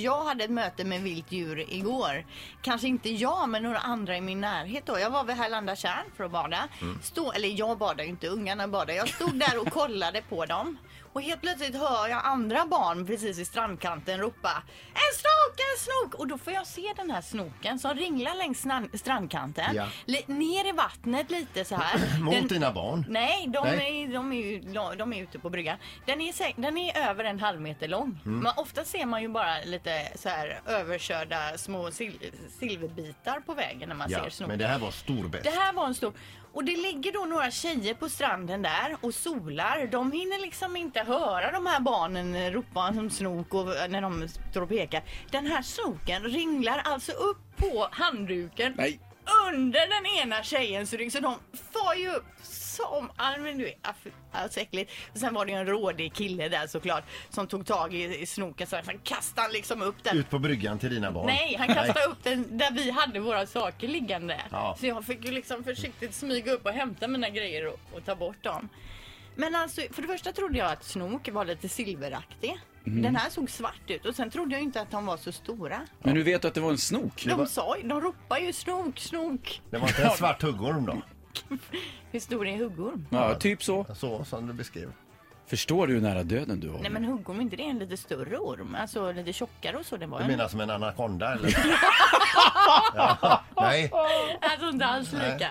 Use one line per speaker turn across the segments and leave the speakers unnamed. Jag hade ett möte med vilt djur igår. Kanske inte jag, men några andra i min närhet då. Jag var vid Härlanda kärn för att bada.
Mm.
Stå, eller jag badar ju inte, ungarna badar. Jag stod där och kollade på dem. Och helt plötsligt hör jag andra barn precis i strandkanten ropa En snok, en snok! Och då får jag se den här snoken som ringlar längs snan- strandkanten.
Ja.
Li- ner i vattnet lite så här.
Mot
Den-
dina barn?
Nej, de,
Nej.
Är, de, är ju, de är ute på bryggan. Den är, säk- den är över en halv meter lång.
Mm.
Men ofta ser man ju bara lite så här överkörda små sil- silverbitar på vägen när man
Ja,
ser snoken.
men det här var storbäst.
Det här var en stor. Och det ligger då några tjejer på stranden där och solar. De hinner liksom inte höra de här barnen ropa som snok och eh, när de står och pekar. Den här snoken ringlar alltså upp på handduken.
Nej.
Under den ena tjejens rygg så de far ju upp som... ja, men du vet, aff- Alltså äckligt. Och sen var det ju en rådig kille där såklart som tog tag i, i snoken så han kastade han liksom upp den.
Ut på bryggan till dina barn?
Nej, han kastade upp den där vi hade våra saker liggande.
Ja.
Så jag fick ju liksom försiktigt smyga upp och hämta mina grejer och, och ta bort dem. Men alltså, för det första trodde jag att snok var lite silveraktig.
Mhm.
Den här såg svart ut och sen trodde jag inte att de var så stora.
Men du vet att det var en snok?
De sa ju, de ropar ju snok, snok.
Det var inte en svart huggorm då?
Hur stor är huggorm?
Ja, typ så.
Så som du beskrev.
Förstår du hur nära döden du var?
Nej men huggorm, är inte det en lite större orm? Alltså lite tjockare och så. Den var
Du
ju
menar som en anakonda eller? ja, nej.
alltså inte alls lika.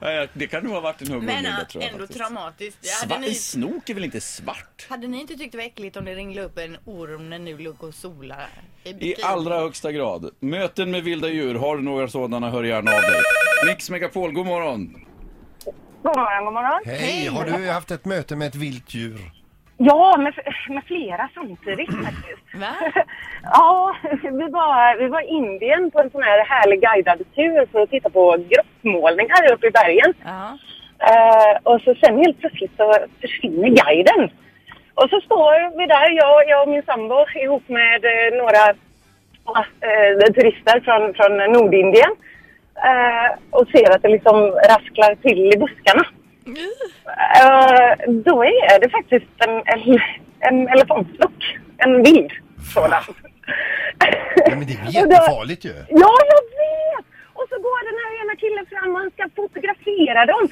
Nej, Det kan nog ha varit en huggorm
Men
Linda,
äh,
tror jag,
ändå
faktiskt.
traumatiskt. Hade
Sva-
ni-
En snok är väl inte svart?
Hade ni inte tyckt det var äckligt om det ringde upp en orm när nu låg och sola i
I
bikini?
allra högsta grad. Möten med vilda djur, har du några sådana, hör gärna av dig. Mix Megapol, god morgon!
God morgon, god morgon.
Hej, har du haft ett möte med ett vilt djur?
Ja, med, med flera samtidigt faktiskt.
Va?
Ja, vi var, vi var i Indien på en sån här härlig guidad tur för att titta på grottmålningar uppe i bergen.
Ja.
Eh, och så sen helt plötsligt så försvinner guiden. Och så står vi där, jag, jag och min sambo ihop med eh, några eh, turister från, från Nordindien. Eh, och ser att det liksom rasklar till i buskarna. Eh, då är det faktiskt en, en, en elefantflock. En vild sådan.
Ja, men det är
Och då-
jättefarligt ju.
Ja, jag vet! Och så går den här ena killen fram och han ska fotografera dem.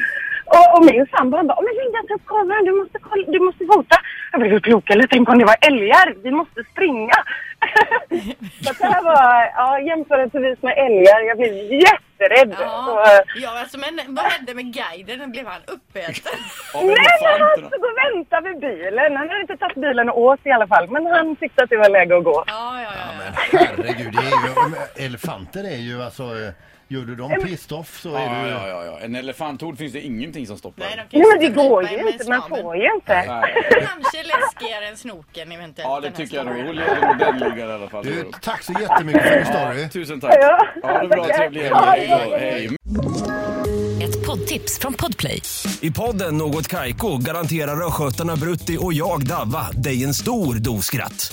Och, och min sambo han bara, "Åh, men Linda ta upp kameran, du måste, kolla, du måste fota. Jag bara, är du klok eller? Tänk om det var älgar, vi måste springa. så att det här var, ja jämförelsevis med älgar, jag blev jätterädd. Så, eh,
Ja. ja, alltså men vad hände med guiden? Blev han uppäten?
Av
Nej men han
elefanterna.
stod och väntade vid bilen. Han hade inte tagit bilen och åt i alla fall. Men han tyckte att det var läge att gå.
Ja, ja, ja.
Men herregud, det är ju, elefanter är ju alltså, eh, gör du dem pissed off så är
Ja,
du...
ja, ja, ja. En elefanthord finns det ingenting som stoppar.
Nej, de kan
Nej
ju
men det
sitta
går
och
ju
pipa i
inte, man
svaveln.
får ju inte.
Nej.
Kanske läskigare än snoken eventuellt.
Ja, det
den här
tycker jag nog.
snoken.
Hon lever med den ligan i alla fall.
Du, tack så jättemycket för din
Ja,
story.
tusen tack.
Ja,
Ha det bra,
tackar.
trevlig helg.
Ja,
Hej då. Hej.
Ett poddtips från Podplay.
I podden Något Kaiko garanterar östgötarna Brutti och jag, Davva, dig en stor dos skratt.